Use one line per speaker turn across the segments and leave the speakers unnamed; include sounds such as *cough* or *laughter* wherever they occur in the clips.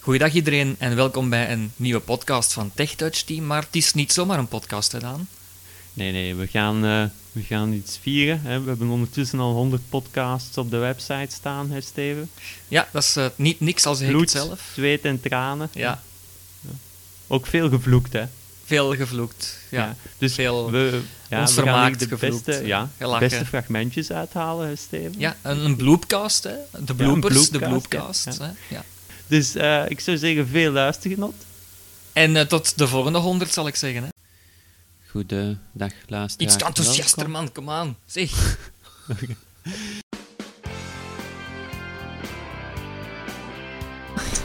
Goeiedag iedereen en welkom bij een nieuwe podcast van TechTouch Team. Maar het is niet zomaar een podcast gedaan.
Nee, nee, we gaan, eh, we gaan iets vieren. Hè. We hebben ondertussen al 100 podcasts op de website staan, hè, Steven.
Ja, dat is eh, niet niks als ik het
Bloed,
zelf.
zweet en tranen.
Ja,
Ook veel gevloekt, hè?
veel gevloekt. Ja,
Dus
veel.
we, ja,
ons
we gaan hier
vermaakt,
de
gevloekt,
beste, ja,
gelachen.
beste fragmentjes uithalen, hè, Steven.
Ja, een, een bloopcast, hè. De bloopers, de bloopcast.
bloopcast,
Ja.
ja.
Hè? Ja.
Dus eh, ik zou zeggen, veel luistergenot.
En eh, tot de volgende honderd, zal ik zeggen. Hè.
Goedendag, luisteraars.
Iets enthousiaster, man. Kom aan. Zeg.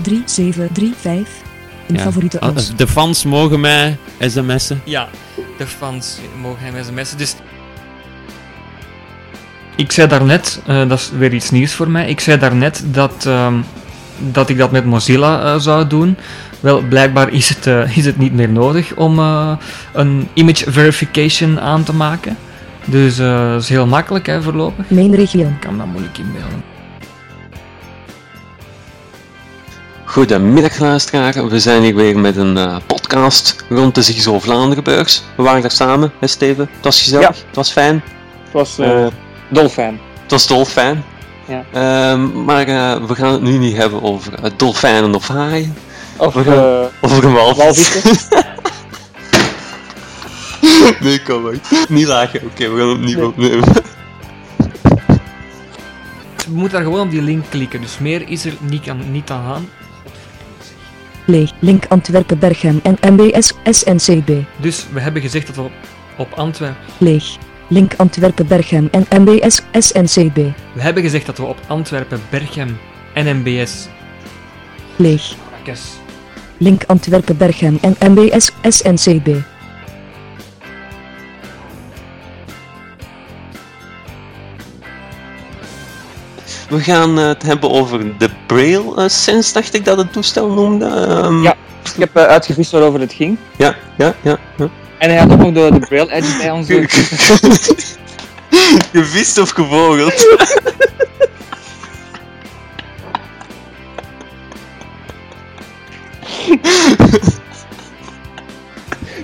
drie zeven drie vijf Een favoriete
Oh,
als.
Ah, De fans mogen mij sms'en.
Ja, de fans mogen hem sms'en, dus... Ik zei daarnet, net, dat is weer iets nieuws voor mij, ik zei daarnet dat, ehm, dat ik dat met Mozilla eh, zou doen. Wel, blijkbaar is het, eh, is het niet meer nodig om eh, een image verification aan te maken. Dus eh, dat is heel makkelijk hè, voorlopig.
Mijn regio.
Ik kan dat moeilijk inbeelden.
Goedemiddag luisteraar, we zijn hier weer met een eh, podcast rond de Zigzo Vlaanderenbeurs. We waren daar samen, hè Steven? Het was gezellig, het was fijn,
Het was eh
Eh,
dolfijn.
het was dolfijn.
Ja.
Ehm, maar eh, we gaan het nu niet hebben over eh, dolfijnen of haaien,
Of
we gaan-
eh,
over een walvis.
walvissen.
*laughs* Nee, kom maar. Niet lachen, oké, we gaan het opnieuw opnemen.
Je moet daar gewoon op die link klikken, dus meer is er niet aan, niet aan gaan.
Leeg. Link Antwerpen Bergen en MBS SNCB.
Dus we hebben gezegd dat we op, op Antwerpen...
Leeg. Link Antwerpen Bergen en MBS SNCB.
We hebben gezegd dat we op Antwerpen, Berchem en MBS.
Leeg.
Rakkes.
Link Antwerpen Bergen en MBS SNCB.
We gaan eh, het hebben over de Braille eh, Sense, dacht ik dat het toestel noemde. Ehm,
Ja. Ik heb eh, uitgevist waarover het ging.
Ja, ja, ja. ja.
En hij had ook nog de, de Braille Edge bij ons.
*laughs*
eh,
Gevist of gevogeld?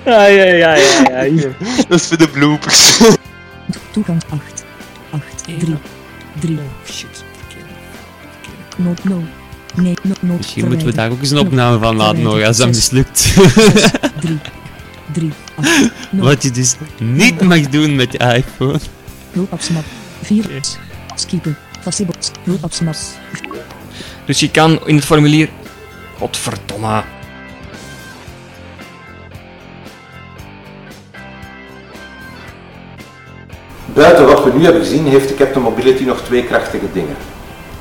Ja, ja, ja, ja. ja, hier.
Dat is voor de bloopers.
Toegang 8. 8. 3. 3.
Oh shit. verkeerde.
Nood no. Nee, no, nood.
Misschien moeten we daar ook eens een opname van laten horen als dat mislukt.
3. 3. 8.
*laughs* Wat je dus niet mag doen met je iPhone.
Hulpafsnap. 4. Skippen. Facibot. Hulpafsnap.
Dus je kan in het formulier. Godverdomme.
Buiten wat we nu hebben gezien, heeft de Captain Mobility nog twee krachtige dingen.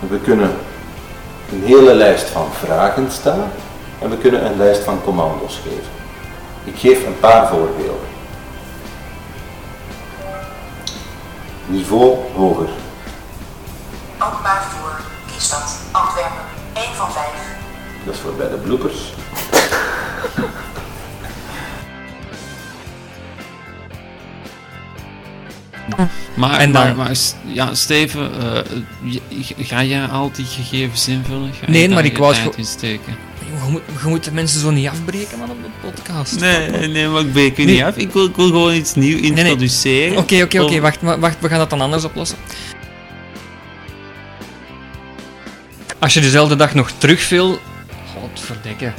We kunnen een hele lijst van vragen stellen en we kunnen een lijst van commando's geven. Ik geef een paar voorbeelden. Niveau hoger.
Openbaar vervoer, kiesstad, Antwerpen, 1 van 5.
Dat is voor bij de bloopers.
Maar,
En dan-
maar, maar s- ja, Steven, eh, je- je- ga jij al die gegevens invullen? Ga je
Nee,
daar
maar ik
je
wou
tijd
gewoon-
in steken?
Jongen, Je moet, je moet de mensen zo niet afbreken, man, op de podcast.
Nee, nee, maar ik breek u
Nee.
niet af. Ik wil, ik wil gewoon iets nieuws
nee.
introduceren.
Oké, oké, oké,
Over-
wacht, maar- wacht, we gaan dat dan anders oplossen. Als je dezelfde dag nog terug wil. Godverdekken.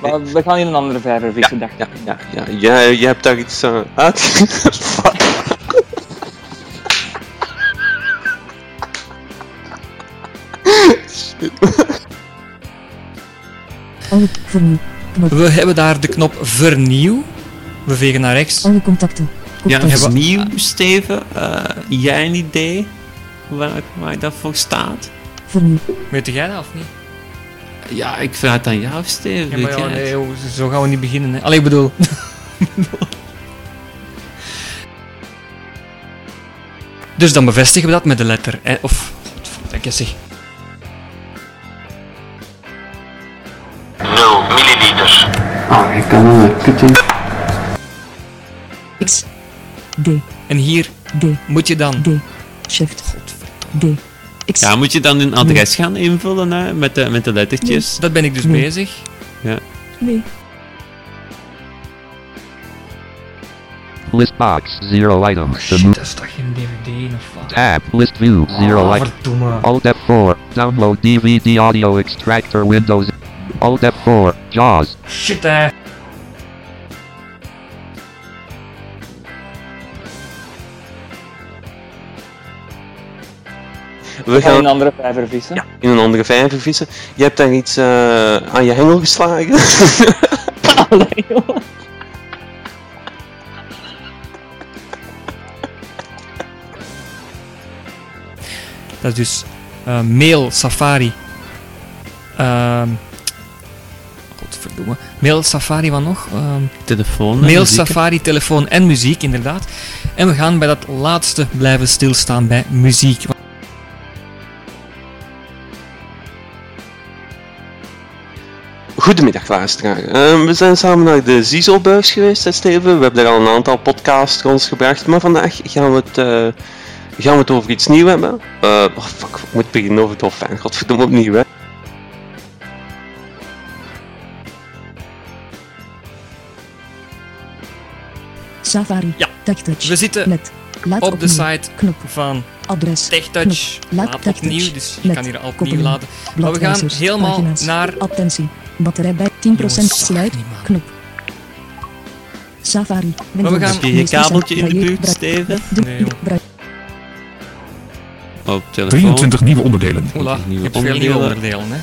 Maar we gaan hier een andere vijver vissen, dacht
Ja,
ik.
ja, ja. Jij, jij hebt daar iets eh, uit.
Alle vernieuw. Knop.
We hebben daar de knop vernieuw. We vegen naar rechts.
Alle contacten.
Ja,
Contacten.
is nieuw, Steven. Eh, jij een idee waar, waar dat voor staat?
Vernieuw.
Weet jij dat of niet?
Ja, ik vraag het aan jou, Steven.
Ja,
weet
maar ja,
jij het?
nee, joh, zo gaan we niet beginnen. Hè. Allee, ik bedoel. *laughs* dus dan bevestigen we dat met de letter R. Of, godverdikke zeg.
0 milliliter.
X. D.
En hier
D.
moet je dan...
D. Shift. D. Ik
Ja, moet je dan een adres gaan invullen hè, met, de, met de lettertjes?
Dat ben ik dus
Nee.
bezig.
Nee.
List box, zero item. The
Shit,
move.
dat is toch geen DVD of wat?
Tab, list view, zero
Ah,
item.
verdomme.
Alt F4, download DVD audio extractor Windows. Alt F4, JAWS.
Shit, hè.
Ga
We
je een
gaan
andere vijver vissen?
in een andere vijver vissen. Je hebt daar iets eh, aan je hengel geslagen.
Allee, joh.
Dat is dus eh, Mail Safari. Ehm godverdomme. Mail Safari, wat nog? Ehm,
Telefoon. en
mail
muziek.
Safari, telefoon en muziek, inderdaad. En we gaan bij dat laatste blijven stilstaan bij muziek.
Goedemiddag luisteraar. Eh, we zijn samen naar de Zizo-beurs geweest, hè, Steven. We hebben daar al een aantal podcasts rondgebracht, maar vandaag gaan we het, eh, gaan we het over iets nieuws hebben. Eh, oh fuck, ik moet beginnen over Dolfijn. Godverdomme opnieuw, hè.
Safari.
Ja.
TechTouch.
We zitten
Met. Laat
op de
opnieuw.
site
Knop.
van
Adres.
TechTouch.
Laat
Laat
TechTouch.
opnieuw, dus je
Met
kan hier al opnieuw
koppeling.
laten. Maar we gaan
Bladwijzers,
helemaal
pagina's.
naar...
Attentie. Batterij bij 10%
Jongens, zag
sluit.
niet, man.
Knop. Safari.
gaan-
Windows.
Heb je je
Meest recent.
kabeltje in de
Braille-
buurt, Steven?
De-
Nee, joh.
Braille-
Op telefoon.
23 nieuwe onderdelen.
Oela,
Nieuwe
je hebt veel nieuwe
onderdelen.
onderdelen, hè.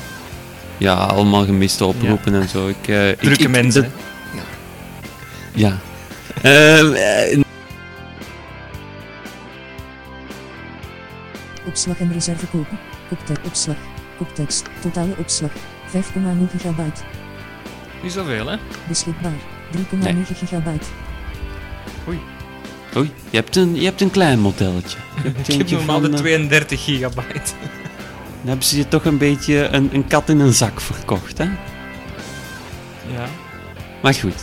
Ja, allemaal gemiste oproepen en zo. Ik, eh, ik-
Drukke
ik-
mensen.
dat-
hè.
ja. *laughs* Ehm, eh,
Opslag en reserve kopen. Koptek opslag. Koptekst. Totale opslag. 5,0 gigabyte.
Niet zoveel, hè.
Beschikbaar. 3,9
Nee.
gigabyte.
oei, je hebt, een, je hebt een klein modelletje. Je hebt
Ik heb
eentje
normaal de
van, eh,
32 gigabyte. *laughs*
Dan hebben ze je toch een beetje een, een kat in een zak verkocht, hè?
Ja.
Maar goed,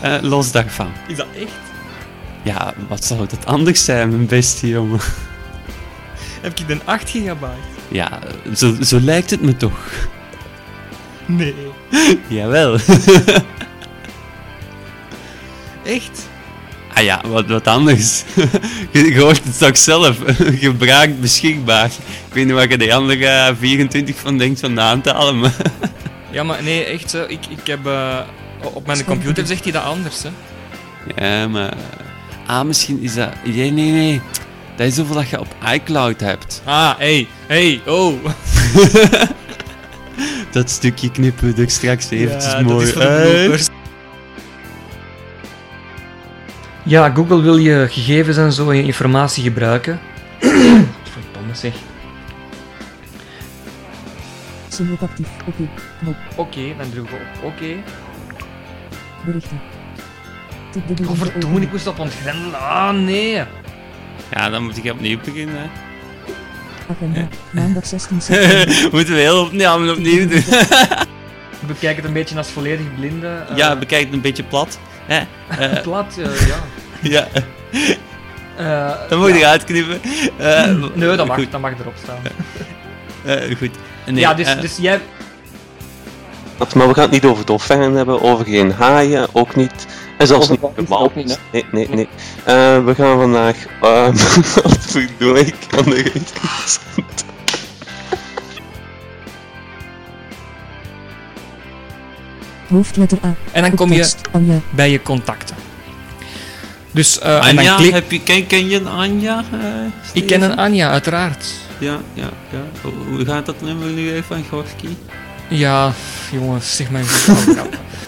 eh, los daarvan.
Is dat echt?
Ja, wat zou dat anders zijn, mijn beste jongen? *laughs*
Heb ik dan 8 gigabyte?
Ja, zo, zo lijkt het me toch.
Nee.
*laughs* Jawel.
Echt?
*laughs* Ah ja, wat, wat anders. *laughs* je, je hoort het toch zelf. *laughs* Gebruikt, beschikbaar. Ik weet niet wat je de andere eh, 24 van denkt van de aan te halen, maar...
Ja, maar nee, echt zo. Ik, ik heb... eh, op mijn computer zegt hij dat anders, hè.
Ja, maar... Ah, misschien is dat... Nee, nee, nee. Dat is hoeveel dat je op iCloud hebt.
Ah, hey, hey, oh.
*laughs* Dat stukje knippen we er straks eventjes
Ja,
mooi
dat is voor de
uit.
bloopers. Ja, Google wil je gegevens en zo en je informatie
*clears throat*
gebruiken. Verdomme zeg.
Zie ook actief. Oké. Knop.
Oké, dan drukken we op oké.
Berichten. Tot de
Oh, verdomme, ik moest dat ontgrendelen. Ah, nee.
Ja, dan moet ik opnieuw beginnen. *laughs* hè.
Agenda. Maandag 16
*laughs*
september.
Moeten we heel opnieuw, allemaal opnieuw doen.
Bekijk het een beetje als volledig blinde. eh,
ja, bekijk het een beetje plat. Hè? Eh,
plat, eh,
*laughs*
ja.
ja,
Eh,
dan moet je eruit knippen. Eh,
nee, dat mag,
Goed.
dat mag erop staan.
eh, goed. Nee,
ja, dus,
eh,
dus jij...
Dat- Maar we gaan het niet over dolfijnen hebben, over geen haaien, ook niet. En zelfs
Over walvissen
niet normaal.
ook niet, hè?
Nee, nee, nee. Eh, we gaan vandaag... eh, *laughs* Wat verdomme, ik kan er echt niet aan.
Hoofdletter A.
En dan kom je
Koptekst. Anja.
bij je contacten. Dus, eh, en dan
Anja,
klik...
Ah, heb je, ken, ken je een Anja? eh,
Ik ken een Anja, uiteraard.
Ja, ja, ja. Hoe- Hoe gaat dat nummer nu even van Gorky?
Ja, jongens, zeg maar. eens.